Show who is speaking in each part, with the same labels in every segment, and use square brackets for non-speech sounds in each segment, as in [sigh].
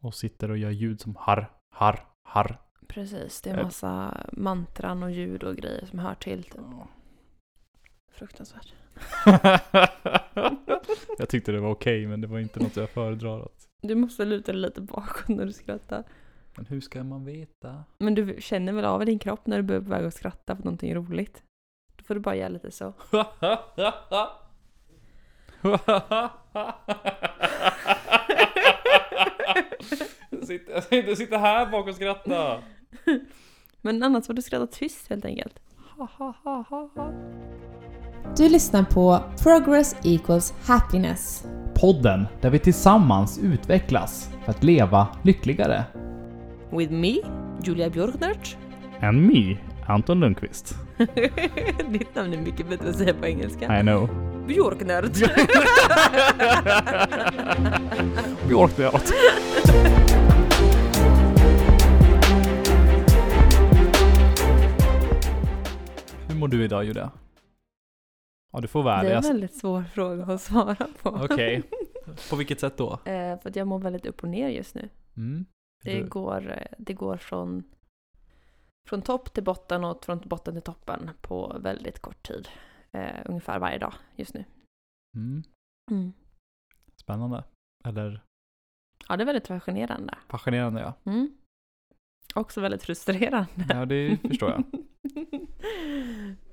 Speaker 1: och sitter och gör ljud som harr, harr, [laughs] harr.
Speaker 2: Precis, det är
Speaker 1: Eh.
Speaker 2: en massa mantran och ljud och grejer som hör till. Typ. Fruktansvärt.
Speaker 1: jag tyckte det var okej men det var inte något jag föredrar. Att,
Speaker 2: Du måste luta dig lite bakåt när du skrattar.
Speaker 1: men hur ska man veta?
Speaker 2: Men du känner väl av i din kropp när du börjar på väg att skratta för någonting roligt? Då får du bara göra lite så.
Speaker 1: Jag sitter- Jag ska inte sitta här bak och skratta.
Speaker 2: Men annars får du skratta tyst helt enkelt.
Speaker 3: Du lyssnar på Progress Equals Happiness.
Speaker 4: Podden där vi tillsammans utvecklas för att leva lyckligare.
Speaker 2: With me, Julia Björknertz.
Speaker 1: And me, Anton Lundqvist.
Speaker 2: [laughs] Ditt namn är mycket bättre att säga på engelska.
Speaker 1: I know.
Speaker 2: Björknertz.
Speaker 1: Vi orkade allt. [laughs] Hur mår du idag Julia? Ja du får vara ärlig.
Speaker 2: Det är en
Speaker 1: alltså.
Speaker 2: väldigt svår fråga att svara på. [laughs]
Speaker 1: Okej. På vilket sätt då?
Speaker 2: Eh, för att jag mår väldigt upp och ner just nu.
Speaker 1: Mm.
Speaker 2: Det
Speaker 1: Du-
Speaker 2: går, eh, det går från, från topp till botten och från botten till toppen på väldigt kort tid. Eh, ungefär varje dag just nu.
Speaker 1: Mm. Spännande. Eller
Speaker 2: Ja, det är väldigt fascinerande.
Speaker 1: fascinerande
Speaker 2: [laughs]
Speaker 1: ja.
Speaker 2: Mm. Också väldigt frustrerande.
Speaker 1: Ja det förstår
Speaker 2: [laughs]
Speaker 1: jag.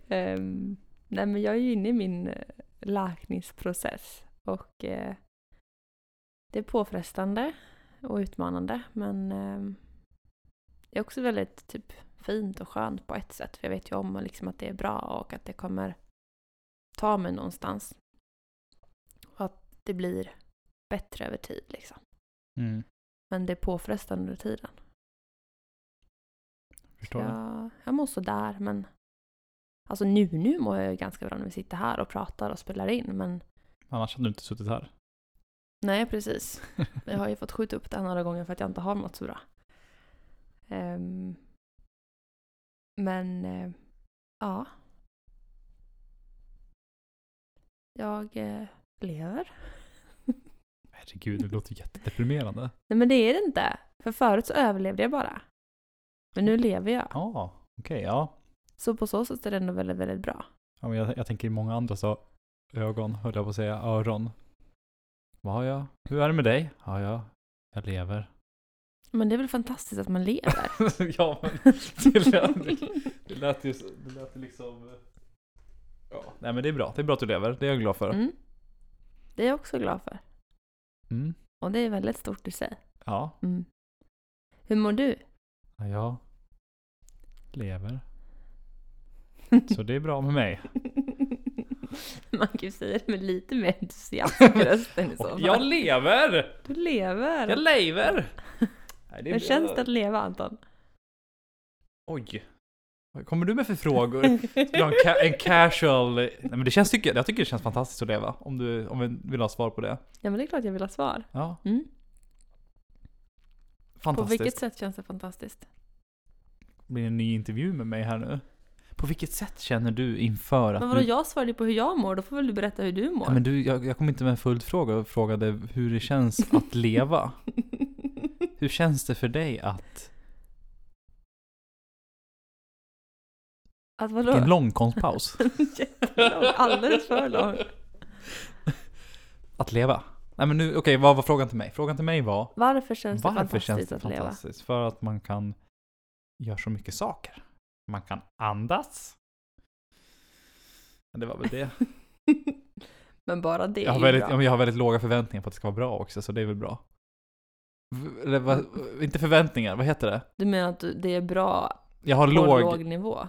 Speaker 2: Ehm, nej, men jag är ju inne i min eh, läkningsprocess och eh, det är påfrestande och utmanande men ehm, det är också väldigt typ, fint och skönt på ett sätt för jag vet ju om liksom, att det är bra och att det kommer ta mig någonstans. Och att det blir bättre över tid liksom.
Speaker 1: Mm.
Speaker 2: Men det är påfrestande under tiden.
Speaker 1: Förstår jag.
Speaker 2: Jag, jag mår sådär men Alltså nu, nu mår jag ju ganska bra när vi sitter här och pratar och spelar in men
Speaker 1: Annars hade du inte suttit här.
Speaker 2: Nej precis. Jag har ju fått skjuta upp det här några gånger för att jag inte har mått så bra. Ehm, men eh, ja. Jag eh, lever.
Speaker 1: Herregud, det låter jättedeprimerande.
Speaker 2: Nej men det är det inte. För förut så överlevde jag bara. Men nu lever jag.
Speaker 1: Ja, okej, ja.
Speaker 2: Så på så sätt är det ändå väldigt, väldigt bra.
Speaker 1: ja men jag, jag tänker i många andra så ögon, höll jag på att säga, öron. Vad har jag? Hur är det med dig? Ja, jag, jag lever. [laughs]
Speaker 2: Men det är väl fantastiskt att man lever?
Speaker 1: ja, men det lät, det lät ju så- det lät ju liksom... Ja. Nej men det är bra, det är bra att du lever, det är jag glad för.
Speaker 2: Mm. Det är jag också glad för.
Speaker 1: Mm.
Speaker 2: Och det är väldigt stort i sig.
Speaker 1: Ja,
Speaker 2: Mm. Hur mår du?
Speaker 1: [laughs] ja, jag
Speaker 2: [laughs]
Speaker 1: lever. Så det är bra med mig.
Speaker 2: Man kan ju säga det med lite mer entusiasm i rösten i så
Speaker 1: [laughs]
Speaker 2: fall.
Speaker 1: Jag lever!
Speaker 2: Du lever!
Speaker 1: Jag lever!
Speaker 2: [laughs]
Speaker 1: Nej, det är
Speaker 2: Hur känns
Speaker 1: bra.
Speaker 2: det att leva Anton?
Speaker 1: Oj. Vad kommer du med för frågor? Vill du ha en, ca- en casual... Nej men det känns, tycker jag, jag tycker det känns fantastiskt att leva. Om du om vi vill ha svar på det.
Speaker 2: Ja men det är klart jag vill ha svar.
Speaker 1: Ja,
Speaker 2: Mm. På
Speaker 1: fantastiskt.
Speaker 2: vilket sätt känns det fantastiskt?
Speaker 1: Det blir en ny intervju med mig här nu. På vilket sätt känner du inför att
Speaker 2: Men vadå
Speaker 1: du...
Speaker 2: jag svarade ju på hur jag mår, då får väl du berätta hur du mår?
Speaker 1: Mm. Ja, men du, jag, jag kom inte med en följdfråga och frågade hur det
Speaker 2: [laughs]
Speaker 1: känns att leva. hur känns det för dig att...
Speaker 2: [laughs] Att
Speaker 1: En
Speaker 2: vadå?
Speaker 1: lång
Speaker 2: [laughs]
Speaker 1: konstpaus.
Speaker 2: Jättelång, alldeles för lång.
Speaker 1: att leva. Nej men nu, okej vad var frågan till mig? Frågan till mig var...
Speaker 2: Varför känns det
Speaker 1: Varför
Speaker 2: fantastiskt
Speaker 1: känns det
Speaker 2: att leva?
Speaker 1: fantastiskt? För att man kan göra så mycket saker. Man kan andas. Men Det var väl det.
Speaker 2: [laughs] men bara [laughs] det
Speaker 1: Jag
Speaker 2: är
Speaker 1: har,
Speaker 2: ju
Speaker 1: väldigt, ja,
Speaker 2: bra.
Speaker 1: men jag har väldigt låga förväntningar på att det ska vara bra också, så det är väl bra. V- Eller, vad, inte förväntningar, vad heter det?
Speaker 2: Du menar att du- det är bra
Speaker 1: Jag har
Speaker 2: på
Speaker 1: låg,
Speaker 2: låg nivå?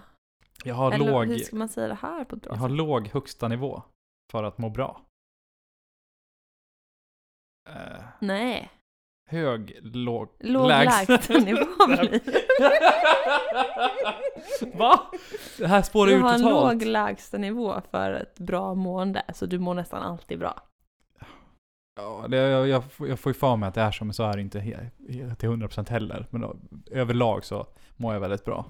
Speaker 1: jag har
Speaker 2: Eller hur
Speaker 1: låg,
Speaker 2: ska man säga det här på ett bra
Speaker 1: jag har
Speaker 2: sätt?
Speaker 1: låg högsta nivå för att må bra. Eh,
Speaker 2: Nej,
Speaker 1: hög, låg,
Speaker 2: [laughs] låg
Speaker 1: lägst. [laughs]
Speaker 2: lägsta nivå blir
Speaker 1: Va? Det här spårar
Speaker 2: Du
Speaker 1: ur
Speaker 2: har en
Speaker 1: totalt.
Speaker 2: låg lägsta nivå för ett bra mående, så du mår nästan alltid bra.
Speaker 1: Ja, det, jag, jag, får- jag får ju för mig att det är så, men så är det inte he, he, till 100% heller. Men då, överlag så mår jag väldigt bra.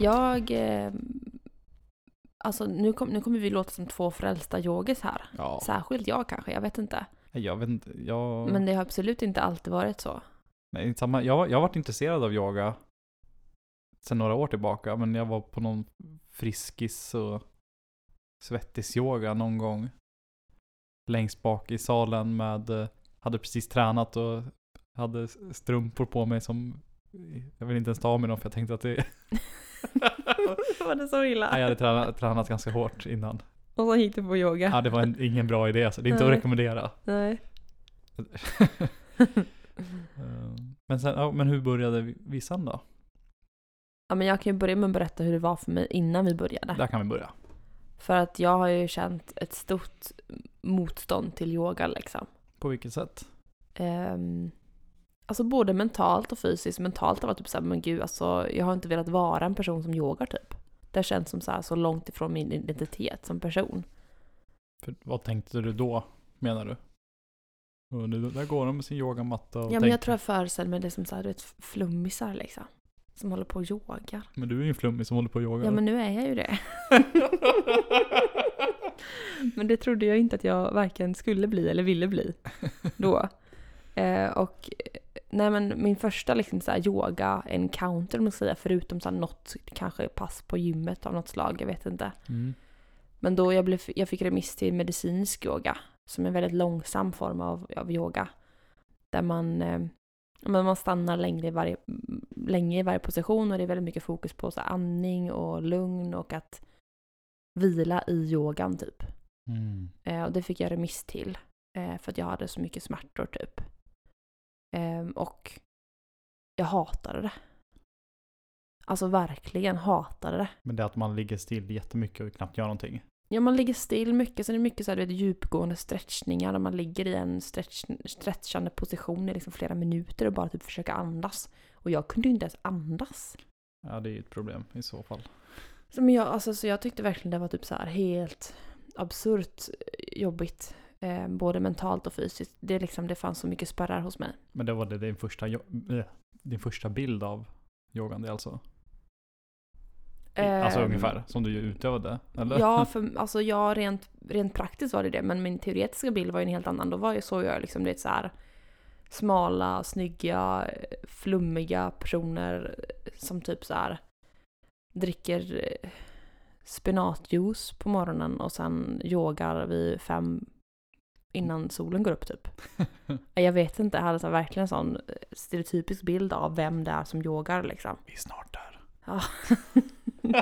Speaker 2: Jag eh, Alltså nu, kom, nu kommer vi låta som två frälsta yogis här.
Speaker 1: Ja,
Speaker 2: Särskilt jag kanske, jag vet inte.
Speaker 1: jag vet inte. Jag,
Speaker 2: Men det har absolut inte alltid
Speaker 1: [laughs]
Speaker 2: varit så. [laughs]
Speaker 1: nej, inte samma, jag, jag har varit intresserad av yoga sedan några år tillbaka, men jag var på någon friskis och svettisyoga någon gång. Längst bak i salen med, eh, hade precis tränat och hade strumpor på mig som, jag vill inte ens ta av mig dem för jag tänkte att det,
Speaker 2: var det så illa?
Speaker 1: nej, jag hade tränat, tränat ganska hårt innan.
Speaker 2: Och så gick du på yoga.
Speaker 1: Ja, det var en, ingen bra idé alltså. Det är inte att
Speaker 2: Nej.
Speaker 1: rekommendera.
Speaker 2: Nej.
Speaker 1: Eh, men, sen, ja, men hur började vi- visan då?
Speaker 2: Ja, men jag kan ju börja med att berätta hur det var för mig innan vi började.
Speaker 1: Där kan vi börja.
Speaker 2: För att jag har ju känt ett stort motstånd till yoga liksom.
Speaker 1: På vilket sätt?
Speaker 2: Ehm, alltså både mentalt och fysiskt. Mentalt har jag varit typ såhär, men gud alltså jag har inte velat vara en person som yogar typ. Det har känts som så, här, så långt ifrån min identitet som person.
Speaker 1: För, vad tänkte du då, menar du? Och nu, där går de med sin yogamatta och
Speaker 2: Ja men jag
Speaker 1: tänker-
Speaker 2: tror jag föreställer mig det som såhär, du vet flummisar liksom. Som håller på och yogar.
Speaker 1: Men du är ju en flummig som håller på och yogar.
Speaker 2: Ja men nu är jag ju det. men det trodde jag inte att jag varken skulle bli eller ville bli då. Eh, och eh, nej men min första liksom så här yoga encounter om man ska säga, förutom så här något kanske pass på gymmet av något slag, jag vet inte.
Speaker 1: Mm.
Speaker 2: Men då jag, blev, jag fick remiss till medicinsk yoga, som är en väldigt långsam form av, av yoga. Där man, eh, men man stannar längre i, varje, m, länge i varje position och det är väldigt mycket fokus på så här andning och lugn och att vila i yogan typ.
Speaker 1: Mm.
Speaker 2: Eh, och det fick jag remiss till eh, för att jag hade så mycket smärtor typ. Ehm, och jag hatade det. Alltså verkligen hatade det.
Speaker 1: Men det är att man ligger still jättemycket och knappt gör någonting.
Speaker 2: Ja, man ligger still mycket. Sen är det mycket så här, du vet, djupgående stretchningar där man ligger i en stretch, stretchande position i liksom flera minuter och bara typ försöker andas. Och jag kunde ju inte ens andas.
Speaker 1: Ja, det är ju ett problem i så fall.
Speaker 2: Så, men jag, alltså, så jag tyckte verkligen det var typ så här helt absurt jobbigt. Eh, både mentalt och fysiskt. Det, är liksom, det fanns så mycket spärrar hos mig.
Speaker 1: Men det var det din första, jo- eh, din första bild av yogan, det är alltså? alltså
Speaker 2: Ehm,
Speaker 1: ungefär, som du ju utövade? Eller?
Speaker 2: Ja, för alltså jag rent, rent praktiskt var det det, men min teoretiska bild var ju en helt annan. Då var ju så jag liksom det så här smala, snygga, flummiga personer som typ så här dricker eh, spenatjuice på morgonen och sen yogar vid fem innan solen går upp typ. Jag vet inte, jag hade så här verkligen en sån eh, stereotypisk bild av vem det är som yogar liksom.
Speaker 1: [laughs] Vi är snart där.
Speaker 2: Ja. [laughs]
Speaker 1: [laughs]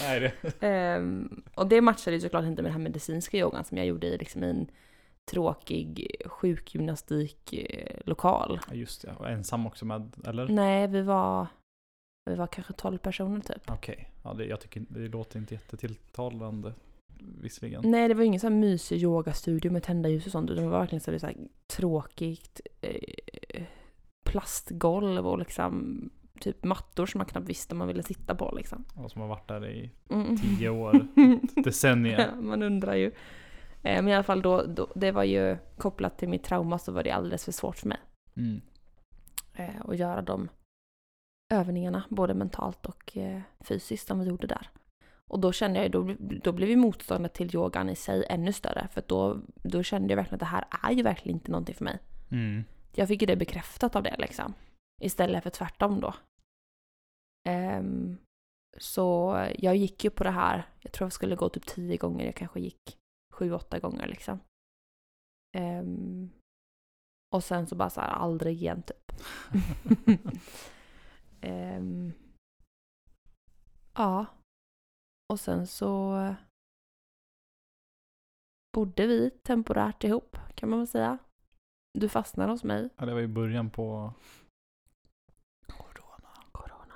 Speaker 1: Nej, det...
Speaker 2: Ehm, och det matchade ju såklart inte med den här medicinska yogan som jag gjorde i liksom i en tråkig sjukgymnastiklokal.
Speaker 1: Ja, just det. Och ensam också med, eller?
Speaker 2: Nej, vi var, vi var kanske 12 personer typ.
Speaker 1: Okej, ja, det, jag tycker det låter inte jättetilltalande visserligen.
Speaker 2: Nej, det var ingen sån här mysig yogastudio med tända ljus och sånt, utan det var verkligen så här, så här tråkigt eh, plastgolv och liksom typ mattor som man knappt visste om man ville sitta på liksom.
Speaker 1: Och som har varit där i
Speaker 2: Mm. [laughs]
Speaker 1: tio år, decennier.
Speaker 2: Ja, [laughs] man undrar ju. Eh, Men i alla fall då, då, det var ju kopplat till mitt trauma så var det alldeles för svårt för mig
Speaker 1: Mm.
Speaker 2: eh, att göra de övningarna, både mentalt och eh, fysiskt, som vi gjorde där. Och då kände jag ju, då, då blev ju motståndet till yogan i sig ännu större, för att då, då kände jag verkligen att det här är ju verkligen inte någonting för mig.
Speaker 1: Mm.
Speaker 2: Jag fick ju det bekräftat av det liksom. Istället för tvärtom då. Ehm, så jag gick ju på det här. Jag tror jag skulle gå typ tio gånger. Jag kanske gick sju, åtta gånger liksom. Ehm, och sen så bara så här aldrig igen typ. Ehm, ja. Och sen så bodde vi temporärt ihop kan man väl säga. Du fastnade hos mig.
Speaker 1: Ja, det var ju början på... Corona.
Speaker 2: Corona.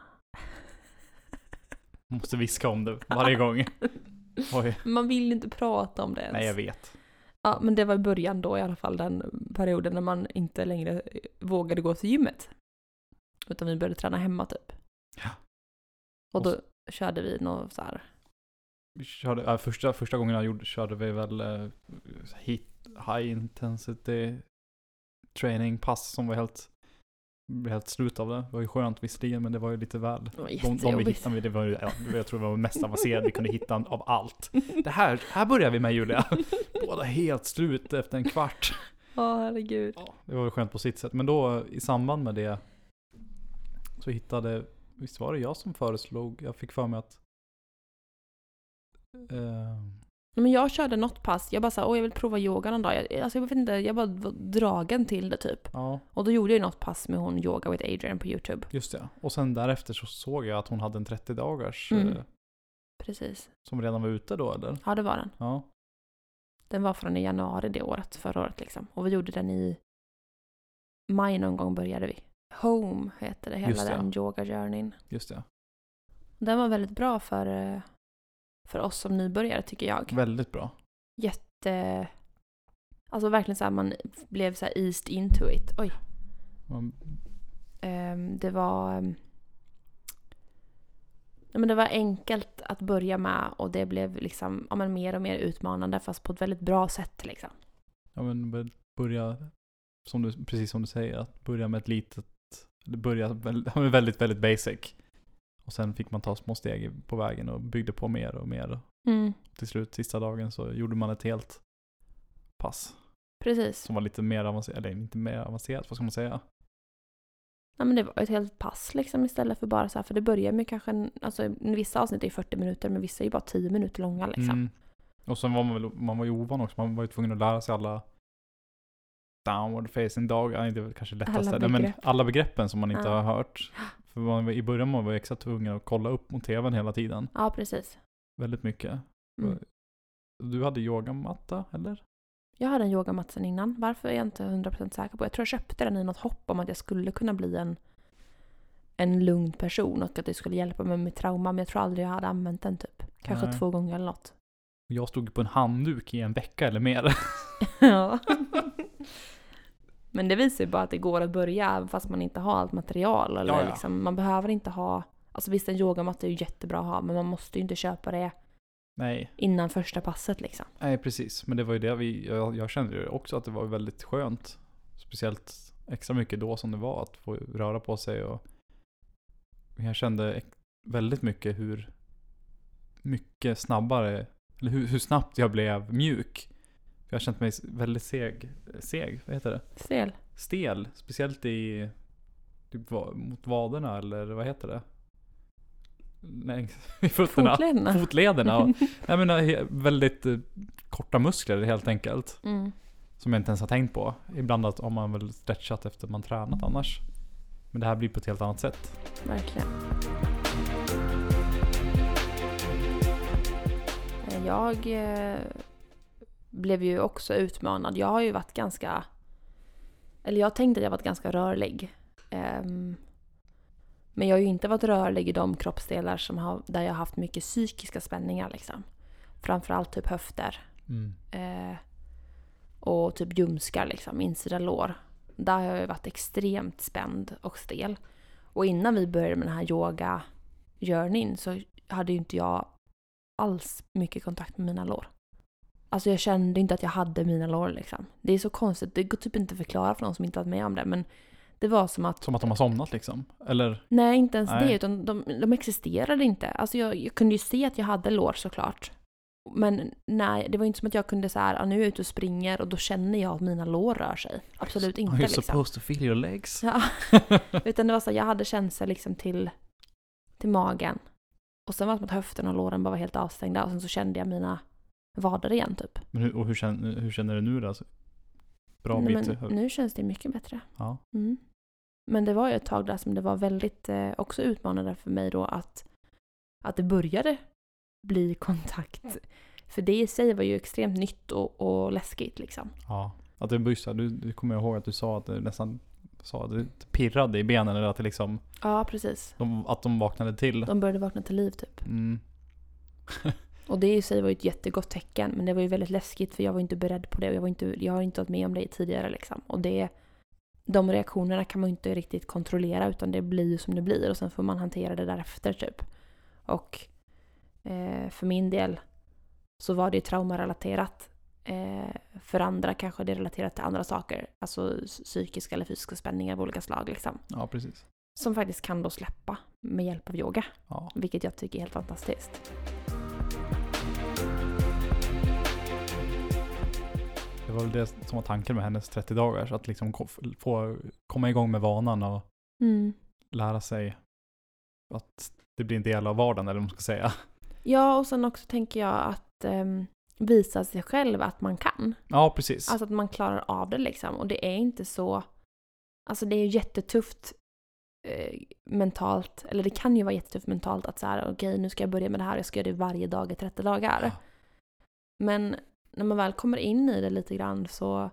Speaker 1: Måste viska om det varje gång. Oj.
Speaker 2: Man vill inte prata om det ens.
Speaker 1: Nej, jag vet.
Speaker 2: ja, men det var i början då i alla fall, den perioden när man inte längre eh, vågade gå till gymmet. Utan vi började träna hemma typ.
Speaker 1: Ja.
Speaker 2: Och då körde vi något så här.
Speaker 1: Vi Körde, ja, första, första gången jag gjorde körde vi väl eh, hit, high intensity training pass som var helt blev helt slut av det. Det var ju skönt visserligen, men det var ju lite väl.
Speaker 2: Det var
Speaker 1: De, de vi
Speaker 2: jättejobbigt.
Speaker 1: hittade, det var, ju- ja, jag tror det var det mest avancerade vi
Speaker 2: [laughs]
Speaker 1: kunde hitta av allt. Det här, här börjar vi med Julia. Båda helt slut efter en kvart.
Speaker 2: Ja, herregud.
Speaker 1: Ja, det var väl skönt på sitt sätt. Men då i samband med det så hittade, visst var det jag som föreslog, jag fick för mig att eh,
Speaker 2: Men jag körde något pass, jag bara sa, åh jag vill prova yoga någon dag. Jag, alltså, jag vet inte, jag bara var dragen till det typ.
Speaker 1: ja,
Speaker 2: Och då gjorde jag något pass med hon Yoga with Adrian på YouTube.
Speaker 1: just det. Och sen därefter så såg jag att hon hade en 30 dagars
Speaker 2: Mm.
Speaker 1: eh,
Speaker 2: Precis.
Speaker 1: som redan var ute då eller?
Speaker 2: Ja, det var den.
Speaker 1: Ja.
Speaker 2: Den var från i januari det året, förra året liksom. Och vi gjorde den i maj någon gång började vi. Home heter det, hela
Speaker 1: Just det.
Speaker 2: den yoga journeyn.
Speaker 1: Just det.
Speaker 2: Den var väldigt bra för, eh, för oss som nybörjare tycker jag.
Speaker 1: Väldigt bra.
Speaker 2: Jätte... Alltså verkligen så här, man blev så här eased into it. Oj.
Speaker 1: Man-
Speaker 2: Ehm, det var... ehm, ja, men det var enkelt att börja med och det blev liksom ja, men mer och mer utmanande fast på ett väldigt bra sätt. Liksom.
Speaker 1: Ja, men bör- börja, som du, precis som du säger, att börja med ett litet, eller börja väl- [laughs] ja, men väldigt, väldigt basic. Och sen fick man ta små steg på vägen och byggde på mer och mer. Till slut, sista dagen, så gjorde man ett helt pass
Speaker 2: Precis.
Speaker 1: som var lite mer avancerat, eller inte mer avancerat, vad ska man säga?
Speaker 2: Ja, men det var ett helt pass liksom, istället för bara så här, för det börjar med kanske, en, alltså vissa avsnitt är 40 minuter men vissa är ju bara 10 minuter långa liksom.
Speaker 1: Mm. Och sen var man väl, man var ju ovan också, man var ju tvungen att lära sig alla downward facing dog, nej, det är väl kanske lättast
Speaker 2: Alla
Speaker 1: där, men
Speaker 2: begrepp.
Speaker 1: alla begreppen som man inte
Speaker 2: Ja.
Speaker 1: har hört. För man, var- i början var man ju extra tvungen att kolla upp mot tvn hela tiden,
Speaker 2: Ja, precis.
Speaker 1: väldigt mycket.
Speaker 2: Mm.
Speaker 1: Du hade yogamatta, eller?
Speaker 2: Jag hade en yogamatta sen innan. Varför är jag inte 100% säker på. Jag tror jag köpte den i något hopp om att jag skulle kunna bli en, en lugn person och att det skulle hjälpa mig med trauma. Men jag tror aldrig jag hade använt den typ. Kanske
Speaker 1: Nej.
Speaker 2: två gånger eller något.
Speaker 1: Jag stod på en handduk i en vecka eller mer. [laughs]
Speaker 2: Ja. [laughs] Men det visar ju bara att det går att börja även fast man inte har allt material. Eller
Speaker 1: Ja, ja.
Speaker 2: Liksom, man behöver inte ha... Alltså visst, en yogamatta är ju jättebra att ha men man måste ju inte köpa det
Speaker 1: nej,
Speaker 2: innan första passet liksom.
Speaker 1: nej precis. Men det var ju det vi, jag, jag kände ju också att det var väldigt skönt. Speciellt extra mycket då som det var att få röra på sig och jag kände ex- väldigt mycket hur mycket snabbare, eller hur, hur snabbt jag blev mjuk. För jag har känt mig s- väldigt seg, seg, vad heter det?
Speaker 2: Stel.
Speaker 1: stel. Speciellt i typ, va- mot vaderna eller vad heter det? Längs [laughs] i fötterna.
Speaker 2: [laughs] Fotlederna.
Speaker 1: Fotlederna. och- Jag menar he- väldigt eh, korta muskler helt enkelt.
Speaker 2: Mm.
Speaker 1: Som jag inte ens har tänkt på. Ibland att om man väl stretchat efter man tränat annars. Men det här blir på ett helt annat sätt.
Speaker 2: Verkligen. Jag eh, blev ju också utmanad. Jag har ju varit ganska... Eller jag tänkte att jag varit ganska rörlig. Ehm, men jag har ju inte varit rörlig i de kroppsdelar som har, där jag har haft mycket psykiska spänningar. Liksom. Framförallt typ höfter.
Speaker 1: Mm.
Speaker 2: Eh, och typ ljumskar, liksom, insida lår. Där har jag ju varit extremt spänd och stel. Och innan vi började med den här yoga journeyn så hade ju inte jag alls mycket kontakt med mina lår. Alltså jag kände inte att jag hade mina lår liksom. Det är så konstigt, det går typ inte att förklara för någon som inte varit med om det men det var som att
Speaker 1: Som att de har somnat liksom. Eller?
Speaker 2: Nej, inte ens
Speaker 1: Nej.
Speaker 2: det. Utan de, de existerade inte. Alltså jag, jag kunde ju se att jag hade lår såklart. Men nej, det var inte som att jag kunde så här, ah, nu är jag ute och springer och då känner jag att mina lår rör sig. Absolut inte
Speaker 1: Are you
Speaker 2: liksom.
Speaker 1: supposed to feel your legs? [laughs]
Speaker 2: Ja. Utan det var så här, jag hade känslor liksom till, till magen. Och sen var det som att höften och låren bara var helt avstängda och sen så kände jag mina vader igen typ.
Speaker 1: Men hur, och hur känner, hur känner du nu då? Alltså, Bra
Speaker 2: Nej,
Speaker 1: bit.
Speaker 2: men, nu känns det mycket bättre.
Speaker 1: Ja.
Speaker 2: Mm. Men det var ju ett tag där som det var väldigt eh, också utmanande för mig då att, att det började bli [laughs] kontakt. För det i sig var ju extremt nytt och, och läskigt liksom.
Speaker 1: Ja. Att det bussar, du, du kommer jag ihåg att du sa att det nästan sa att det pirrade i benen eller att, det liksom,
Speaker 2: Ja, precis.
Speaker 1: de, att de vaknade till.
Speaker 2: De började vakna till liv typ.
Speaker 1: Mm.
Speaker 2: Och det i sig var ju ett jättegott tecken men det var ju väldigt läskigt för jag var inte beredd på det och jag, var inte, jag har inte varit med om det tidigare liksom. Och det, de reaktionerna kan man ju inte riktigt kontrollera utan det blir ju som det blir och sen får man hantera det därefter typ. Och eh, för min del så var det ju traumarelaterat Eh, för andra kanske det är relaterat till andra saker, alltså s- psykiska eller fysiska spänningar av olika slag liksom.
Speaker 1: Ja, precis.
Speaker 2: Som faktiskt kan då släppa med hjälp av yoga,
Speaker 1: Ja.
Speaker 2: vilket jag tycker är helt fantastiskt.
Speaker 1: Det var väl det som var tanken med hennes 30 dagars, att liksom ko- få komma igång med vanan och
Speaker 2: Mm.
Speaker 1: lära sig att det blir en del av vardagen, eller vad man ska säga. [laughs]
Speaker 2: Ja, och sen också tänker jag att ehm, visa sig själv att man kan.
Speaker 1: Ja, precis.
Speaker 2: Alltså att man klarar av det liksom. Och det är inte så... Alltså det är ju jättetufft eh, mentalt, eller det kan ju vara jättetufft mentalt att så här, okej nu ska jag börja med det här, jag ska göra det varje dag i 30 dagar. Men när man väl kommer in i det lite grann så,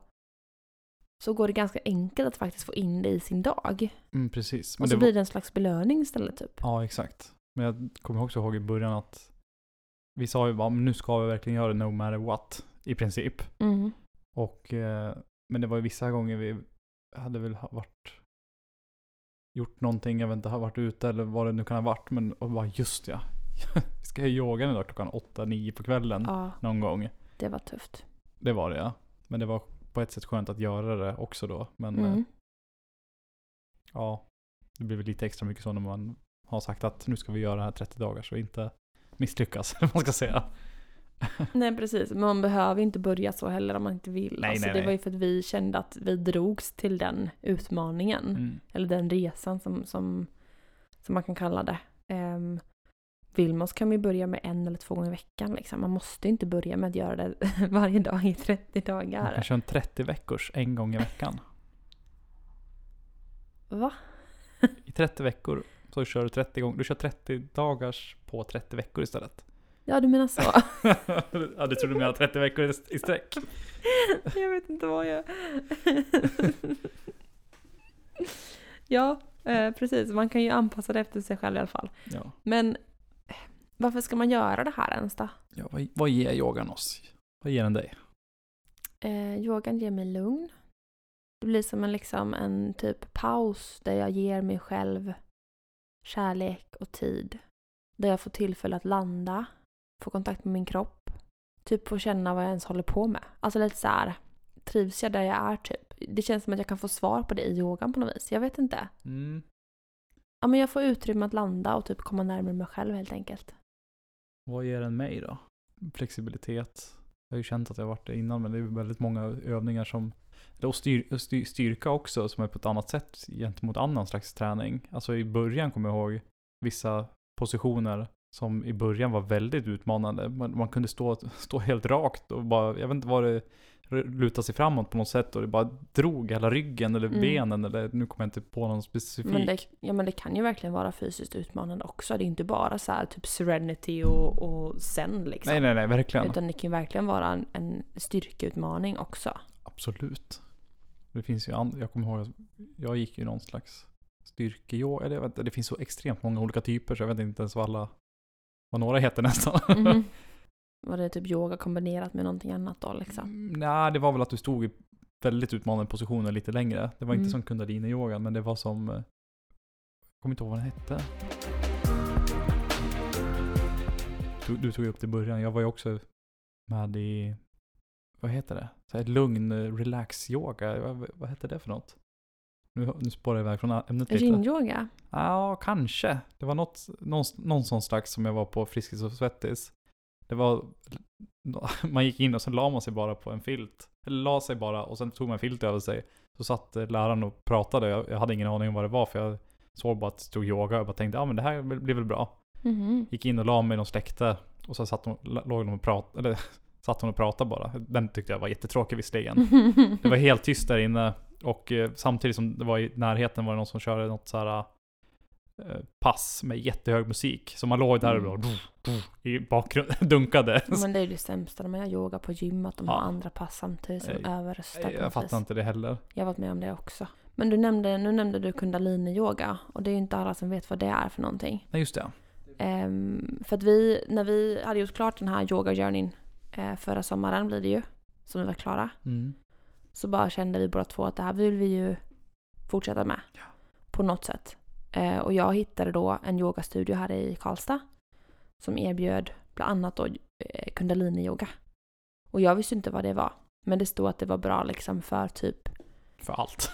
Speaker 2: så går det ganska enkelt att faktiskt få in det i sin dag.
Speaker 1: Mm, precis. Men
Speaker 2: Och
Speaker 1: det
Speaker 2: så
Speaker 1: var-
Speaker 2: blir det en slags belöning istället typ.
Speaker 1: Ja, exakt. Men jag kommer också ihåg i början att vi sa ju bara, "Men nu ska vi verkligen göra det no matter what, i princip.
Speaker 2: Mm.
Speaker 1: Och, eh, men det var ju vissa gånger vi hade väl ha- varit gjort någonting, jag vet inte, har varit ute eller vad det nu kan ha varit. Men och bara just ja, [laughs] vi ska ju yoga idag klockan 8-9 på kvällen
Speaker 2: Ja,
Speaker 1: någon gång.
Speaker 2: det var tufft.
Speaker 1: Det var det ja. Men det var på ett sätt skönt att göra det också då. Men eh,
Speaker 2: Mm.
Speaker 1: ja, det blir väl lite extra mycket så när man har sagt att nu ska vi göra det här 30 dagar så inte misslyckas, [laughs] eller vad man ska säga.
Speaker 2: Nej precis, men man behöver ju inte börja så heller om man inte vill.
Speaker 1: Nej,
Speaker 2: alltså,
Speaker 1: nej,
Speaker 2: det
Speaker 1: nej.
Speaker 2: var ju för att vi kände att vi drogs till den utmaningen.
Speaker 1: Mm.
Speaker 2: Eller den resan som, som, som man kan kalla det. Um, vill man så kan man ju börja med en eller två gånger i veckan. Liksom. Man måste inte börja med att göra det [laughs] varje dag i 30
Speaker 1: Man kan
Speaker 2: dagar.
Speaker 1: köra en 30 veckors en gång i veckan.
Speaker 2: Va?
Speaker 1: I 30 veckor så kör du 30 gånger. Du kör 30 dagars på 30 veckor istället.
Speaker 2: Ja, du menar så?
Speaker 1: [laughs] ja, du tror du menar 30 veckor i- i sträck.
Speaker 2: [laughs] jag vet inte vad jag... [laughs] ja, eh, precis. Man kan ju anpassa det efter sig själv i alla fall.
Speaker 1: Ja.
Speaker 2: Men eh, varför ska man göra det här ens då?
Speaker 1: ja vad, vad ger yogan oss? Vad ger den dig?
Speaker 2: Eh, yogan ger mig lugn. Det blir som en, liksom, en typ paus där jag ger mig själv kärlek och tid. Där jag får tillfälle att landa, få kontakt med min kropp. Typ få känna vad jag ens håller på med. Alltså lite så här, trivs jag där jag är typ? Det känns som att jag kan få svar på det i yogan på något vis. Jag vet inte.
Speaker 1: Mm.
Speaker 2: Ja men jag får utrymme att landa och typ komma närmare mig själv helt enkelt.
Speaker 1: Vad ger den mig då? Flexibilitet. Jag har ju känt att jag har varit det innan men det är ju väldigt många övningar som... eller Och styr, och styr, styrka också som är på ett annat sätt gentemot annan slags träning. Alltså i början kommer jag ihåg vissa positioner som i början var väldigt utmanande. Man, man kunde stå, [laughs] stå helt rakt och bara, jag vet inte vad det luta sig framåt på något sätt och det bara drog hela ryggen eller
Speaker 2: Mm.
Speaker 1: benen eller nu kommer jag inte på någon specifik.
Speaker 2: Men det, ja, men det kan ju verkligen vara fysiskt utmanande också. Det är inte bara så här typ serenity och, och zen liksom.
Speaker 1: nej, nej, nej, verkligen.
Speaker 2: Utan det kan ju verkligen vara en, en
Speaker 1: [laughs]
Speaker 2: styrkeutmaning också.
Speaker 1: Absolut. Det finns ju andra, jag kommer ihåg att jag gick ju någon slags styrkeyoga, eller jag vet inte, det finns så extremt många olika typer så jag vet inte ens vad alla, vad några heter [laughs] nästan.
Speaker 2: Mm, Var Mhm. det typ yoga kombinerat med någonting annat då liksom?
Speaker 1: Mm, Nej, det var väl att du stod i väldigt utmanande positioner lite längre. Det var inte
Speaker 2: Mm.
Speaker 1: som kundalini-yogan, men det var som... eh, Jag kommer inte ihåg vad den hette. Du, du tog ju upp det i början. Jag var ju också med i... Vad heter det? Så här lugn eh, relax-yoga. Vad, vad hette det för något? Nu, nu spårar jag iväg från ämnet lite.
Speaker 2: Yin-yoga?
Speaker 1: Ja, kanske. Det var något, någon, någon sån slags som jag var på Friskis och Svettis. Det var, [laughs] man gick in och sen la man sig bara på en filt. Eller la sig bara och sen tog man en filt över sig. Så satt eh, läraren och pratade. Jag, jag hade ingen aning om vad det var för jag såg bara att det stod yoga. Jag bara tänkte, ja men det här blir blir väl bra.
Speaker 2: Mhm.
Speaker 1: Gick in och la mig, de släckte. Och sen satt hon, låg de och pratade, eller [laughs] satt hon och pratade bara. Den tyckte jag var jättetråkig visserligen.
Speaker 2: [laughs]
Speaker 1: Det var helt tyst där inne och eh, samtidigt som det var i närheten var det någon som körde något så här eh, pass med jättehög musik. Så man låg där och bara, [laughs] i bakgrunden dunkade. [laughs]
Speaker 2: Men det är ju det sämsta när man gör yoga på gym, att de
Speaker 1: Ja.
Speaker 2: har andra pass samtidigt som
Speaker 1: Nej,
Speaker 2: överröstar på
Speaker 1: Jag
Speaker 2: något
Speaker 1: fattar
Speaker 2: vis.
Speaker 1: inte det heller.
Speaker 2: Jag har varit med om det också. Men du nämnde, nu nämnde du kundalini-yoga och det är ju inte alla som vet vad det är för någonting.
Speaker 1: Nej just det.
Speaker 2: Ehm, för att vi, när vi hade gjort klart den här yoga journeyn eh, förra sommaren blir det ju, som vi var klara,
Speaker 1: Mm.
Speaker 2: så bara kände vi båda två att det här vill vi ju fortsätta med. På något sätt. Eh, och jag hittade då en yogastudio här i Karlstad som erbjöd bland annat då eh, kundalini-yoga. Och jag visste inte vad det var. Men det stod att det var bra liksom för typ
Speaker 1: För
Speaker 2: [laughs]
Speaker 1: allt.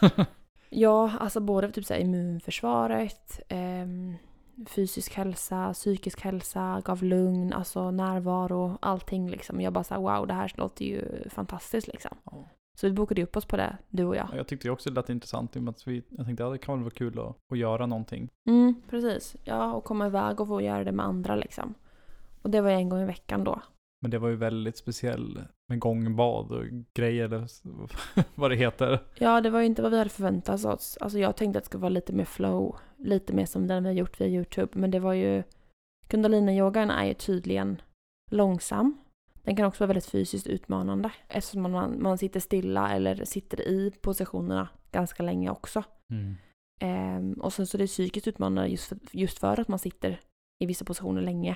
Speaker 2: Ja, alltså både typ så här immunförsvaret, ehm, fysisk hälsa, psykisk hälsa, gav lugn, alltså närvaro, allting liksom. Jag bara såhär wow, det här låter ju fantastiskt liksom.
Speaker 1: Ja.
Speaker 2: Så vi bokade upp oss på det, du och jag.
Speaker 1: jag tyckte ju också det lät intressant i och med att vi, jag tänkte att ja, det kan väl vara kul att, att göra någonting.
Speaker 2: Mm, precis. Ja, och komma iväg och få göra det med andra liksom. Och det var ju en gång i veckan då.
Speaker 1: Men det var ju väldigt speciell med gångbad och grejer eller s- [laughs] vad det heter.
Speaker 2: Ja, det var ju inte vad vi hade förväntat oss. Alltså jag tänkte att det skulle vara lite mer flow, lite mer som den vi har gjort via YouTube. Men det var ju, kundaliniyogan är ju tydligen långsam. Den kan också vara väldigt fysiskt utmanande eftersom man- man, man sitter stilla eller sitter i positionerna ganska länge också.
Speaker 1: Mm.
Speaker 2: Ehm, och sen så är det psykiskt utmanande just för, just för att man sitter i vissa positioner länge.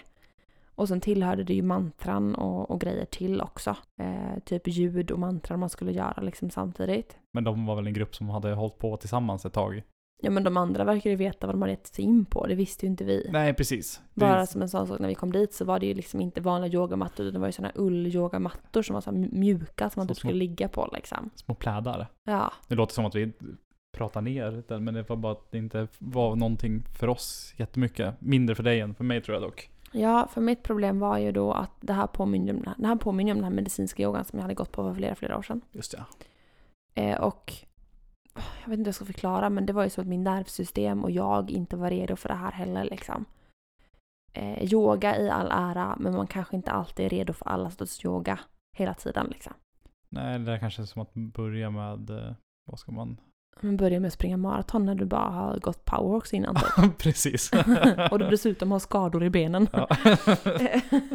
Speaker 2: Och sen tillhörde det ju mantran och, och grejer till också. Ehm, typ ljud och mantran man skulle göra liksom samtidigt.
Speaker 1: Men de var väl en grupp som hade hållit på tillsammans ett tag.
Speaker 2: Ja men de andra verkar ju veta vad de hade gett sig in på, det visste ju inte vi.
Speaker 1: Nej, precis. Det
Speaker 2: Bara
Speaker 1: är,
Speaker 2: som en sån sak när vi kom dit så var det ju liksom inte vanliga yogamattor utan det var ju såna här ull-yogamattor som var så här mjuka som man
Speaker 1: Så
Speaker 2: typ
Speaker 1: små.
Speaker 2: skulle ligga på liksom.
Speaker 1: små plädar.
Speaker 2: Ja,
Speaker 1: Det låter som att vi pratar ner den, men det var bara att det inte var någonting för oss jättemycket. Mindre för dig än för mig tror jag dock.
Speaker 2: ja för mitt problem var ju då att det här påminner om, det här påminner om den här medicinska yogan som jag hade gått på för flera, flera år sedan.
Speaker 1: Just det.
Speaker 2: Eh, och jag vet inte hur jag ska förklara men det var ju så att min nervsystem och jag inte var redo för det här heller liksom. Eh, yoga i all ära men man kanske inte alltid är redo för alla sorters yoga hela tiden liksom.
Speaker 1: Nej, det där kanske är som att börja med, eh, vad ska man?
Speaker 2: Men börja med att springa maraton när du bara har gått
Speaker 1: [laughs]
Speaker 2: powerwalks innan typ.
Speaker 1: precis.
Speaker 2: [laughs] och du dessutom har skador i benen.
Speaker 1: [laughs] Ja.
Speaker 2: [laughs]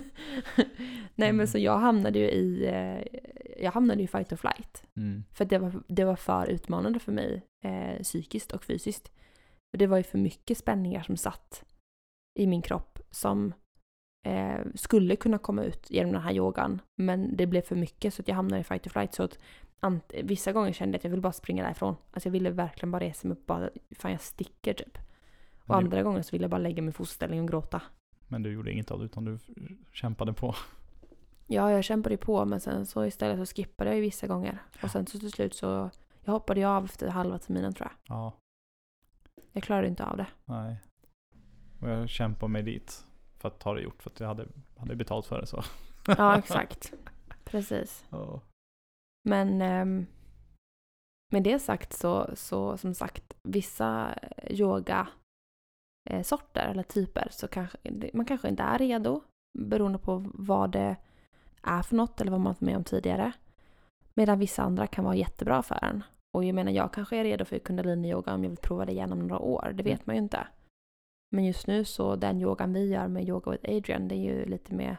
Speaker 2: Nej men så jag hamnade ju i, eh, jag hamnade i fight or flight.
Speaker 1: mm.
Speaker 2: För att det var, det var för utmanande för mig eh, psykiskt och fysiskt. För det var ju för mycket spänningar som satt i min kropp som eh, skulle kunna komma ut genom den här yogan. Men det blev för mycket så att jag hamnade i fight or flight. Så att ant- vissa gånger kände jag att jag ville bara springa därifrån. Alltså jag ville verkligen bara resa mig upp och bara, fan jag sticker typ. Och
Speaker 1: Men, du,
Speaker 2: andra gånger så ville jag bara lägga mig i fosterställning och gråta.
Speaker 1: men du gjorde inget av det, utan du kämpade på.
Speaker 2: Ja, jag kämpade ju på men sen så istället så skippade jag ju vissa gånger. Och sen så till slut så, jag hoppade ju av efter halva terminen tror jag.
Speaker 1: Ja,
Speaker 2: Jag klarade inte av det.
Speaker 1: nej. Och jag kämpade mig dit för att ha det gjort, för att jag hade, hade betalt för det så.
Speaker 2: Ja, exakt. Precis.
Speaker 1: [laughs] Ja.
Speaker 2: Men ehm, med det sagt så, så som sagt, vissa yoga eh, sorter eller typer så kanske man kanske inte är redo beroende på vad det är för något eller vad man varit med om tidigare. Medan vissa andra kan vara jättebra för en. Och jag menar, jag kanske är redo för kundalini-yoga om jag vill prova det igen om några år. Det vet man ju inte. Men just nu så den yogan vi gör med Yoga with Adrian, det är ju lite mer,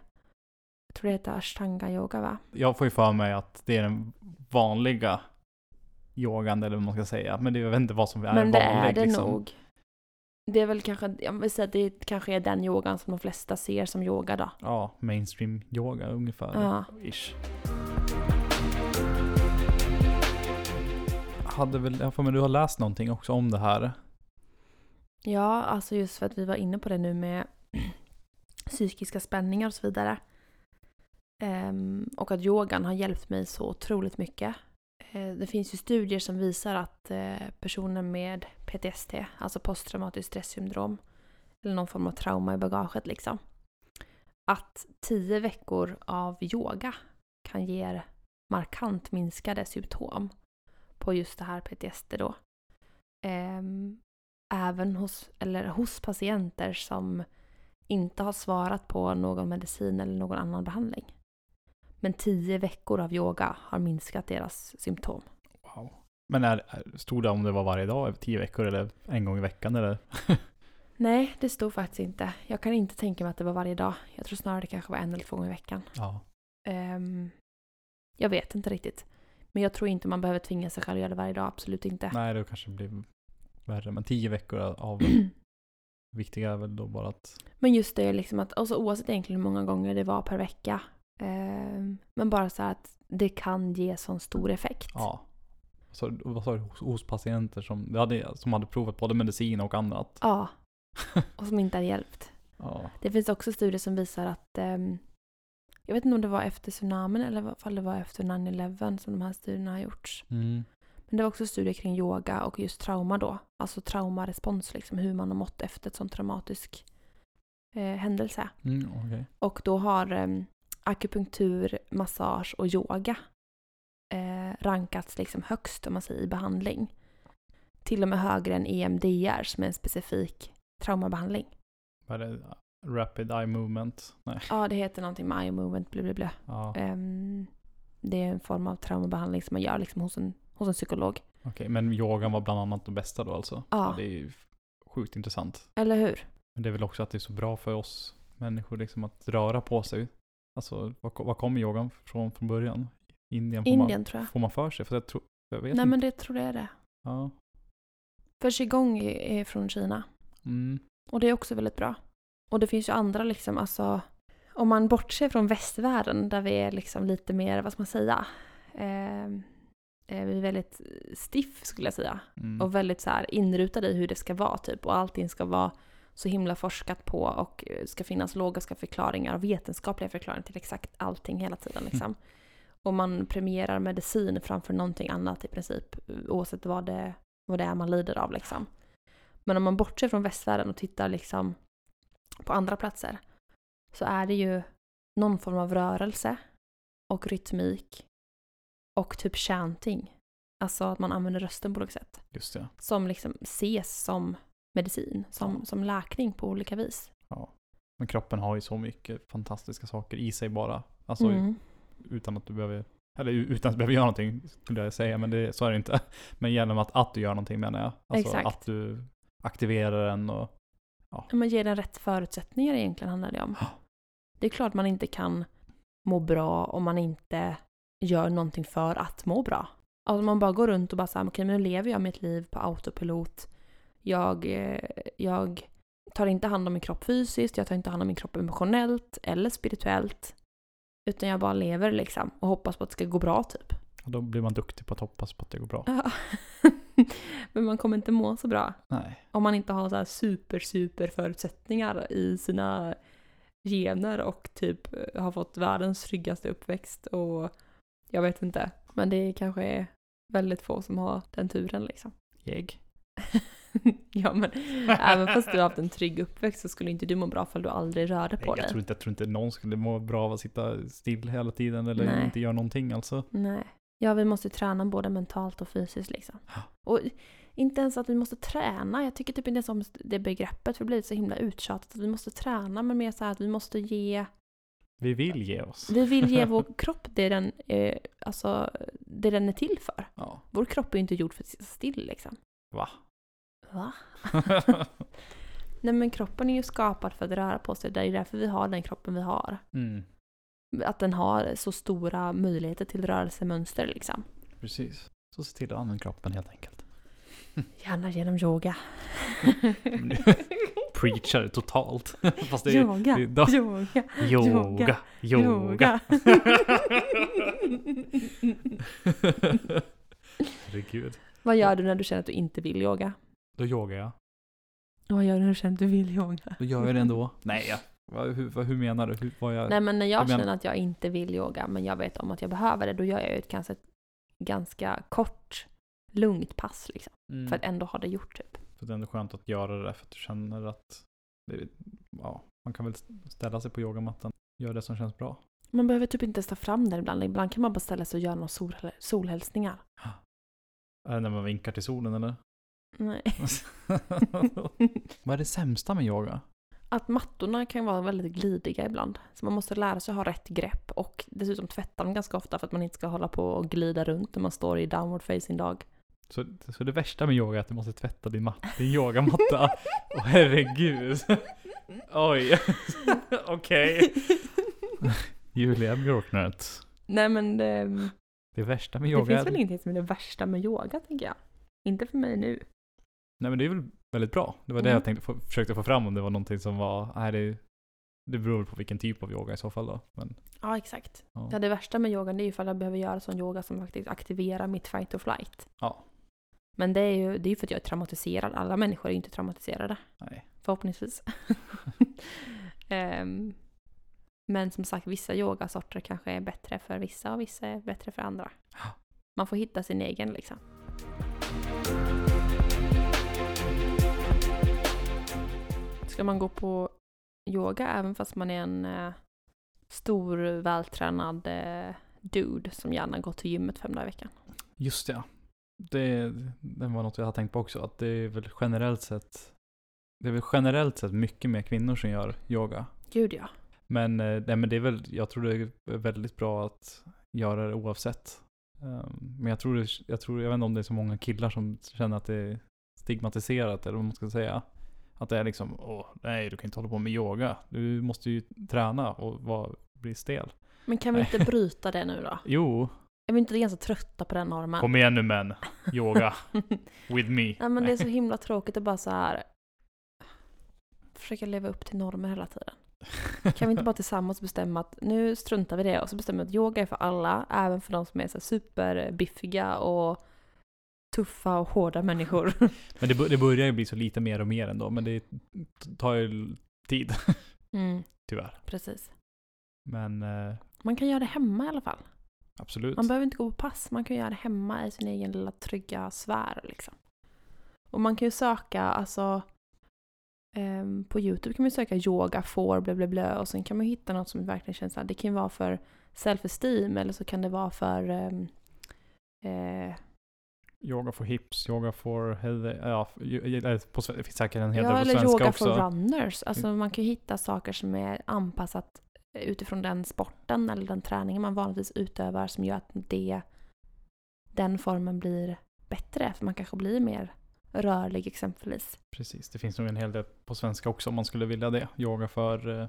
Speaker 2: jag tror det heter ashtanga-yoga va?
Speaker 1: Jag får ju för mig att det är den vanliga yogan eller vad man ska säga. Men det, jag vet inte vad som är
Speaker 2: Men det
Speaker 1: vanlig.
Speaker 2: är det
Speaker 1: liksom.
Speaker 2: nog. Det är väl kanske, jag vill säga att det kanske är den yogan som de flesta ser som yoga då.
Speaker 1: Ja, mainstream yoga ungefär.
Speaker 2: Ja.
Speaker 1: Ish. Hade väl, jag får men du har läst någonting också om det här.
Speaker 2: Ja, alltså just för att vi var inne på det nu med [clears throat] psykiska spänningar och så vidare. Ehm, och att yogan har hjälpt mig så otroligt mycket. Eh, det finns ju studier som visar att eh, personer med PTSD, alltså posttraumatiskt stresssyndrom, eller någon form av trauma i bagaget liksom, att tio veckor av yoga kan ge er markant minskade symptom på just det här PTSD då. Ehm, även hos, eller hos patienter som inte har svarat på någon medicin eller någon annan behandling. Men tio veckor av yoga har minskat deras symptom.
Speaker 1: Wow. Men är, är- stod det om det var varje dag, tio veckor eller en gång i veckan eller?
Speaker 2: Nej, det stod faktiskt inte. Jag kan inte tänka mig att det var varje dag. Jag tror snarare det kanske var en eller två gånger i veckan.
Speaker 1: Ja.
Speaker 2: Ehm, jag vet inte riktigt. Men jag tror inte man behöver tvinga sig själv att göra det varje dag. Absolut inte.
Speaker 1: Nej, det kanske blir värre. Men tio veckor
Speaker 2: [clears throat]
Speaker 1: av viktiga är väl då bara att...
Speaker 2: Men just det liksom att, alltså, oavsett egentligen hur många gånger det var per vecka. ehm, men bara så här att det kan ge sån stor effekt.
Speaker 1: Ja. Så, vad sa du? Hos, hos patienter som, det hade, som hade provat både medicin och annat.
Speaker 2: Ja, och som inte har hjälpt.
Speaker 1: Ja.
Speaker 2: Det finns också studier som visar att ehm, Jag vet inte om det var efter tsunamin eller i alla fall det var efter 9-11 som de här studierna har gjorts.
Speaker 1: Mm.
Speaker 2: Men det var också studier kring yoga och just trauma då. Alltså traumarespons, liksom hur man har mått efter ett sånt traumatisk eh, händelse.
Speaker 1: Mm, okej.
Speaker 2: Och då har eh, akupunktur, massage och yoga eh, rankats liksom högst om man säger i behandling. Till och med högre än E EMDR som är en specifik traumabehandling.
Speaker 1: Vad är det? uh, Rapid eye movement? Nej.
Speaker 2: Ja, det heter någonting med eye movement, bla bla bla.
Speaker 1: Ja. Okej,
Speaker 2: Ehm, det är en form av traumabehandling som man gör liksom hos en, hos en psykolog.
Speaker 1: men yogan var bland annat det bästa då alltså?
Speaker 2: Ja,
Speaker 1: Det är ju sjukt intressant.
Speaker 2: eller hur?
Speaker 1: Men det är väl också att det är så bra för oss människor liksom att röra på sig. Alltså, var, ko- var kom yogan från från början? Indien får,
Speaker 2: Indien tror
Speaker 1: man,
Speaker 2: jag.
Speaker 1: får man för sig? För jag, tror, jag vet
Speaker 2: Nej,
Speaker 1: inte.
Speaker 2: men det tror jag är det.
Speaker 1: Ja.
Speaker 2: För qigong är är från Kina.
Speaker 1: Mm.
Speaker 2: Och det är också väldigt bra. Och det finns ju andra liksom, alltså om man bortser från västvärlden där vi är liksom lite mer, vad ska man säga, eh, eh, vi är väldigt stiff skulle jag säga.
Speaker 1: Mm.
Speaker 2: Och väldigt så här inrutade i hur det ska vara typ och allting ska vara så himla forskat på och eh, ska finnas logiska förklaringar och vetenskapliga förklaringar till exakt allting hela tiden liksom. Och man premierar medicin framför någonting annat i princip eh, oavsett vad det, vad det är man lider av liksom. Men om man bortser från västvärlden och tittar liksom på andra platser så är det ju någon form av rörelse och rytmik och typ chanting. Alltså att man använder rösten på något sätt
Speaker 1: Just det.
Speaker 2: som liksom ses som medicin, som,
Speaker 1: Ja.
Speaker 2: som läkning på olika vis.
Speaker 1: Men kroppen har ju så mycket fantastiska saker i sig bara. Alltså
Speaker 2: Mm.
Speaker 1: utan att du behöver, eller u- utan att du behöver göra någonting skulle jag säga, men det, så är det inte. [laughs] Men genom att, att du gör någonting menar jag. Alltså
Speaker 2: Exakt.
Speaker 1: att du aktiverar den och
Speaker 2: Ja, Men ge den rätt förutsättningar egentligen handlar det om.
Speaker 1: Ja.
Speaker 2: Det är klart man inte kan må bra om man inte gör någonting för att må bra. Alltså om man bara går runt och bara säger okej men nu lever jag mitt liv på autopilot. Jag, eh, jag tar inte hand om min kropp fysiskt, jag tar inte hand om min kropp emotionellt eller spirituellt. Utan jag bara lever liksom och hoppas på att det ska gå bra typ.
Speaker 1: och då blir man duktig på att hoppas på att det går bra.
Speaker 2: Ja. [laughs] Men man kommer inte må så bra
Speaker 1: Nej.
Speaker 2: om man inte har så här super, super förutsättningar i sina gener och typ eh, har fått världens tryggaste uppväxt och jag vet inte. Men det kanske är väldigt få som har den turen liksom.
Speaker 1: Jag.
Speaker 2: [laughs] ja men även fast du har haft en trygg uppväxt så skulle inte du må bra för du aldrig rörde
Speaker 1: Nej,
Speaker 2: på
Speaker 1: jag,
Speaker 2: dig.
Speaker 1: tror inte, jag tror inte någon skulle må bra av att sitta still hela tiden eller
Speaker 2: Nej.
Speaker 1: inte göra någonting alltså.
Speaker 2: Nej. Ja, vi måste träna både mentalt och fysiskt liksom.
Speaker 1: Ja.
Speaker 2: Och inte ens att vi måste träna. Jag tycker typ inte ens om det begreppet för det blir så himla uttjatat. Att vi måste träna men mer så här att vi måste ge...
Speaker 1: Vi vill ge oss.
Speaker 2: Vi vill
Speaker 1: [laughs]
Speaker 2: ge vår kropp det den, eh, alltså, det den är till för.
Speaker 1: Ja.
Speaker 2: Vår kropp är ju inte gjord för att sitta still liksom.
Speaker 1: Va?
Speaker 2: Va? Nej men kroppen är ju skapad för att röra på sig. Det är ju därför vi har den kroppen vi har.
Speaker 1: [laughs] mm,
Speaker 2: Att den har så stora möjligheter till rörelsemönster liksom.
Speaker 1: precis. Så se till att använda kroppen helt enkelt.
Speaker 2: Gärna genom yoga.
Speaker 1: Men du- [laughs] Preachar totalt. [laughs] Fast det är
Speaker 2: yoga,
Speaker 1: det är- då-
Speaker 2: yoga,
Speaker 1: Yoga. Yoga.
Speaker 2: yoga.
Speaker 1: [laughs] Herregud.
Speaker 2: Vad gör du när du känner att du inte vill yoga?
Speaker 1: Då yogar jag.
Speaker 2: Vad gör du när du känner att du vill yoga?
Speaker 1: Då gör jag det ändå. Nej, jag, vad, hur, vad, hur menar du? Hur, vad jag,
Speaker 2: Nej men när jag
Speaker 1: Jag menar-
Speaker 2: känner att jag inte vill yoga men jag vet om att jag behöver det då gör jag ju ett ganska, ganska kort, lugnt pass liksom.
Speaker 1: mm,
Speaker 2: För att ändå ha det gjort typ.
Speaker 1: för det är ändå skönt att göra det där för att du känner att det, ja, man kan väl ställa sig på yogamattan. Gör det som känns bra.
Speaker 2: Man behöver typ inte ens ta fram den ibland. Ibland kan man bara ställa sig och göra några sol, solhälsningar.
Speaker 1: Är det Äh, när man vinkar till solen
Speaker 2: [laughs]
Speaker 1: eller?
Speaker 2: Nej.
Speaker 1: vad är det sämsta med yoga?
Speaker 2: att mattorna kan vara väldigt glidiga ibland. Så man måste lära sig ha rätt grepp och dessutom tvätta dem ganska ofta för att man inte ska hålla på och glida runt när man står i downward facing dog.
Speaker 1: Så, så det värsta med yoga är att du måste tvätta din, mat, din
Speaker 2: [laughs]
Speaker 1: yogamatta? Åh herregud. Oj. Okej. Julia Björknert.
Speaker 2: Nej men eh, det,
Speaker 1: Det värsta med
Speaker 2: det
Speaker 1: yoga
Speaker 2: finns
Speaker 1: är-
Speaker 2: väl ingenting som är det värsta med yoga tänker jag. Inte för mig nu.
Speaker 1: Nej men det är väl väldigt bra. Det var det
Speaker 2: Mm.
Speaker 1: jag tänkte, få- försökte få fram om det var någonting som var, nej det, det beror väl på vilken typ av yoga i så fall då. Men,
Speaker 2: Ja exakt.
Speaker 1: ja.
Speaker 2: Ja, det värsta med yogan det är ju ifall jag behöver göra sån yoga som faktiskt aktiverar mitt fight or flight.
Speaker 1: Ja.
Speaker 2: Men det är ju det är ju för att jag är traumatiserad. Alla människor är ju inte traumatiserade.
Speaker 1: Nej.
Speaker 2: Förhoppningsvis. [laughs] Ehm, Men som sagt, vissa yogasorter kanske är bättre för vissa och vissa är bättre för [gasps] andra.
Speaker 1: Ja.
Speaker 2: Man får hitta sin egen liksom. Ska man gå på yoga även fast man är en eh, stor vältränad eh, dude som gärna går till gymmet fem dagar i veckan?
Speaker 1: Just det. det. Det var något jag hade tänkt på också. Att det är väl generellt sett. Det är väl generellt sett mycket mer kvinnor som gör yoga.
Speaker 2: Gud ja.
Speaker 1: Men, eh, nej, men det är väl, jag tror det är väldigt bra att göra det oavsett. Ehm, Men jag tror, det, jag tror, jag vet inte om det är så många killar som känner att det är stigmatiserat eller vad man ska säga. Att det är liksom, åh nej du kan inte hålla på med yoga. Du måste ju träna och vara, bli stel.
Speaker 2: Men kan vi inte bryta det nu då?
Speaker 1: Jo,
Speaker 2: Är vi inte ganska trötta på den normen?
Speaker 1: kom igen nu män.
Speaker 2: [laughs]
Speaker 1: Yoga, with me.
Speaker 2: Nej men det är så himla tråkigt att bara så här försöka leva upp till normer hela tiden. Kan vi inte bara tillsammans bestämma att nu struntar vi i det och så bestämmer vi att yoga är för alla, även för de som är så här superbiffiga och tuffa och hårda människor.
Speaker 1: [laughs] Men det, bör- det börjar ju bli så lite mer och mer ändå, men det t- tar ju tid,
Speaker 2: Mm,
Speaker 1: tyvärr.
Speaker 2: precis.
Speaker 1: Men eh,
Speaker 2: Man kan göra det hemma i alla fall.
Speaker 1: absolut.
Speaker 2: Man behöver inte gå på pass, man kan göra det hemma i sin egen lilla trygga sfär. Liksom. Och man kan ju söka, alltså ehm, på YouTube kan man ju söka yoga, får, blö, blö, blö och sen kan man ju hitta något som verkligen känns såhär, det kan ju vara för self-esteem eller så kan det vara för ehm, eh,
Speaker 1: Yoga for hips, yoga for head, ja, f- ju- eh, på, sve- det finns säkert en hel del
Speaker 2: ja,
Speaker 1: på
Speaker 2: eller
Speaker 1: svenska
Speaker 2: yoga
Speaker 1: också. Mm.
Speaker 2: for runners. Alltså man kan ju hitta saker som är anpassat utifrån den sporten eller den träningen man vanligtvis utövar som gör att det, den formen blir bättre. För man kanske blir mer rörlig exempelvis.
Speaker 1: Precis, det finns nog en hel del på svenska också om man skulle vilja det. Yoga för eh,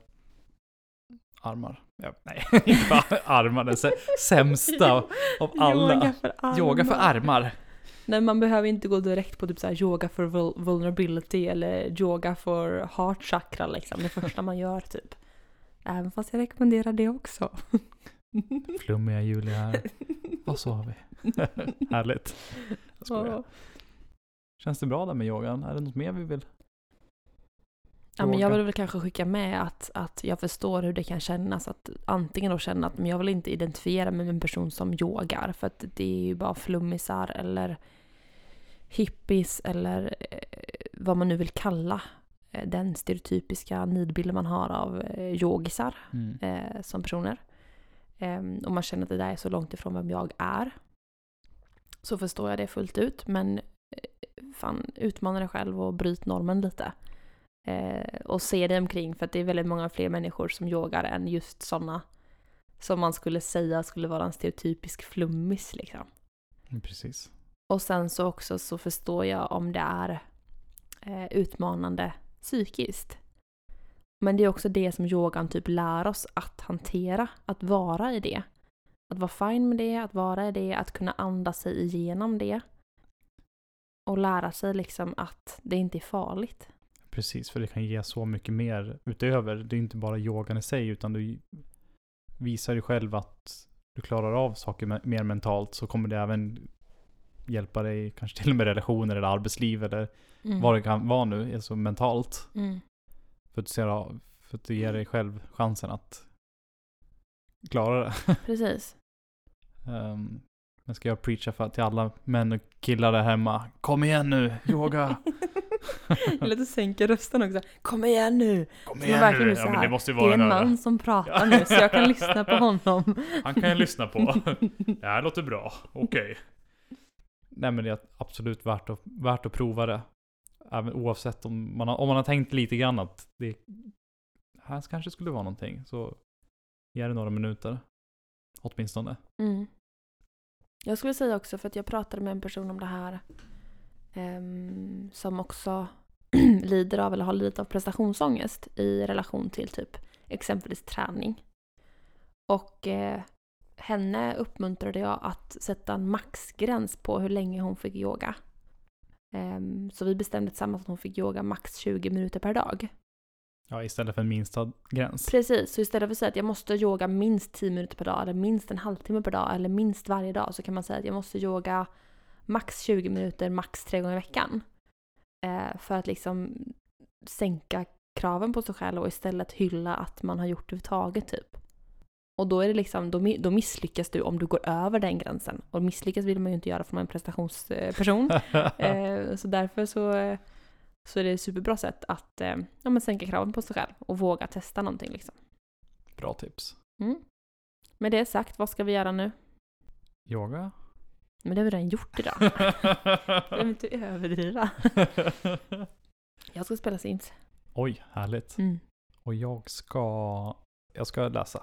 Speaker 1: armar. Ja, nej, [laughs] inte bara armar, den
Speaker 2: [laughs]
Speaker 1: sä- sämsta av alla. Yoga,
Speaker 2: för armar.
Speaker 1: för armar.
Speaker 2: Nej, man behöver inte gå direkt på typ så här yoga for vul- vulnerability eller yoga for heart chakra liksom. Det första man gör typ. Även fast jag rekommenderar
Speaker 1: [laughs]
Speaker 2: det också.
Speaker 1: Flummiga Julia
Speaker 2: [laughs]
Speaker 1: här. Och så har vi. [laughs] Härligt. Jag skojar.
Speaker 2: Ja.
Speaker 1: Känns det bra där med yogan? Är det något mer vi vill?
Speaker 2: Ja, men
Speaker 1: Yoga.
Speaker 2: jag vill väl kanske skicka med att, att jag förstår hur det kan kännas. Att antingen då känna att men jag vill inte identifiera mig med en person som yogar. För att det är ju bara flummisar eller hippies eller eh, vad man nu vill kalla eh, den stereotypiska nidbilden man har av eh, yogisar
Speaker 1: Mm.
Speaker 2: eh, som personer. Ehm, och man känner att det där är så långt ifrån vem jag är. Så förstår jag det fullt ut. Men eh, fan, utmana dig själv och bryt normen lite. Eh, och se dig omkring för att det är väldigt många fler människor som yogar än just sådana som man skulle säga skulle vara en stereotypisk flummis liksom.
Speaker 1: Mm, Precis.
Speaker 2: Och sen så också så förstår jag om det är eh, utmanande psykiskt. Men det är också det som yogan typ lär oss att hantera, att vara i det. Att vara fine med det, att vara i det, att kunna andas sig igenom det. Och lära sig liksom att det inte är farligt.
Speaker 1: Precis, för det kan ge så mycket mer utöver. Det är inte bara yogan i sig, utan du visar dig själv att du klarar av saker me- mer mentalt så kommer det även hjälpa dig kanske till och med relationer eller arbetsliv eller vad det kan vara nu, alltså mentalt.
Speaker 2: Mm.
Speaker 1: För att, du ser, av- för att du ger dig själv chansen att klara det.
Speaker 2: [laughs] Precis.
Speaker 1: Ehm, men ska jag preacha för, till alla män och killar där hemma. Kom igen nu, yoga!
Speaker 2: [laughs] Eller du sänker rösten också. Kom igen nu!
Speaker 1: Kom
Speaker 2: Men verkligen så här,
Speaker 1: måste ju
Speaker 2: Det är en
Speaker 1: den här-
Speaker 2: man som pratar
Speaker 1: Ja.
Speaker 2: nu så jag kan lyssna på honom.
Speaker 1: Han kan jag lyssna på. Det här låter bra. Okej. Nej men det är absolut värt att, värt att prova det. Även oavsett om man, har, om man har tänkt lite grann att det här kanske skulle vara någonting. Så ge det några minuter. Åtminstone.
Speaker 2: Mm. Jag skulle säga också, för att jag pratade med en person om det här ehm, som också [clears throat] lider av eller har lidit av prestationsångest i relation till typ exempelvis träning. Och eh, henne uppmuntrade jag att sätta en maxgräns på hur länge hon fick yoga. Ehm, så vi bestämde tillsammans att hon fick yoga max 20 minuter per dag.
Speaker 1: Ja, istället för en minsta gräns.
Speaker 2: Precis, så istället för att säga att jag måste yoga minst 10 minuter per dag eller minst en halvtimme per dag eller minst varje dag så kan man säga att jag måste yoga max 20 minuter, max tre gånger i veckan. Eh, för att liksom sänka kraven på sig själv och istället hylla att man har gjort det överhuvudtaget typ. Och då, är det liksom, då, mi- då misslyckas du om du går över den gränsen. Och misslyckas vill man ju inte göra för man är
Speaker 1: [laughs]
Speaker 2: en prestationsperson. eh, så därför så, eh, så är det ett superbra sätt att eh, ja, men sänka kraven på sig själv och våga testa någonting. Liksom.
Speaker 1: Bra tips.
Speaker 2: Mm. Med det sagt, vad ska vi göra nu?
Speaker 1: Yoga?
Speaker 2: Men det har vi redan gjort [laughs] idag. Jag behöver inte överdriva. Jag ska spela Sims.
Speaker 1: [laughs] Oj, härligt.
Speaker 2: Mm.
Speaker 1: Och jag ska... Jag ska läsa.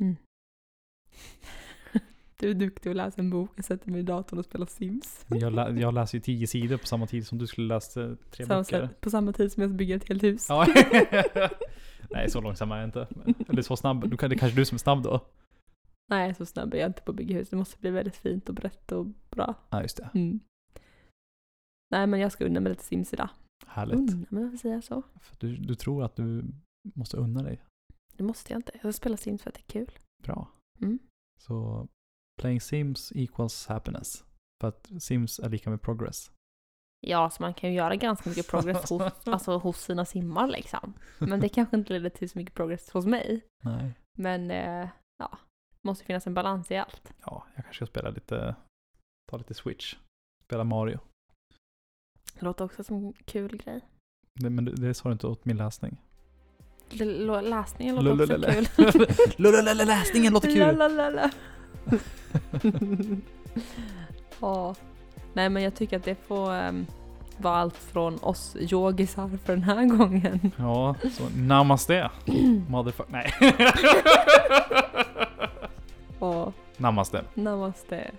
Speaker 2: Mm. [laughs] Du är duktig att läsa en bok. Jag sätter mig i datorn och spelar Sims.
Speaker 1: Men Jag, lä, jag läser ju tio sidor på samma tid som du skulle läsa tre
Speaker 2: Samma
Speaker 1: böcker.
Speaker 2: sätt- på samma tid som jag bygger ett helt hus.
Speaker 1: Ja. Nej, så långsam är jag inte. Men- Eller så snabb. Du, kan- det är kanske är du som är snabb då?
Speaker 2: Nej, så snabb är jag inte på att bygga hus. Det måste bli väldigt fint och brett och bra.
Speaker 1: Ja, just det.
Speaker 2: Mm. Nej, men jag ska unna mig lite Sims idag.
Speaker 1: Härligt.
Speaker 2: Unna mig, varför säger jag så?
Speaker 1: För du, du tror att du måste unna dig.
Speaker 2: Det måste jag inte. Jag spelar Sims för att det är kul.
Speaker 1: Bra.
Speaker 2: Mm.
Speaker 1: Så playing Sims equals happiness. För att Sims är lika med progress.
Speaker 2: Ja, så man kan ju göra ganska mycket
Speaker 1: [laughs]
Speaker 2: progress hos, alltså, hos sina simmar liksom. Men det kanske inte leder till så mycket progress hos mig.
Speaker 1: Nej.
Speaker 2: Men eh, ja, måste ju finnas en balans i allt.
Speaker 1: Ja, jag kanske ska spela lite... Ta lite switch. Spela Mario.
Speaker 2: Det låter också som en kul grej.
Speaker 1: Det, men det, det sa du inte åt min läsning.
Speaker 2: L- l- läsningen låter
Speaker 1: Lululele.
Speaker 2: också kul.
Speaker 1: Lululele, [laughs] läsningen låter kul! [laughs]
Speaker 2: Lalalala. [laughs] ja. Nej men jag tycker att det får ehm, vara allt från oss yogisar för den här [laughs] gången.
Speaker 1: Ja, så namaste. Motherfuck. Nej.
Speaker 2: Och
Speaker 1: namaste.
Speaker 2: namaste.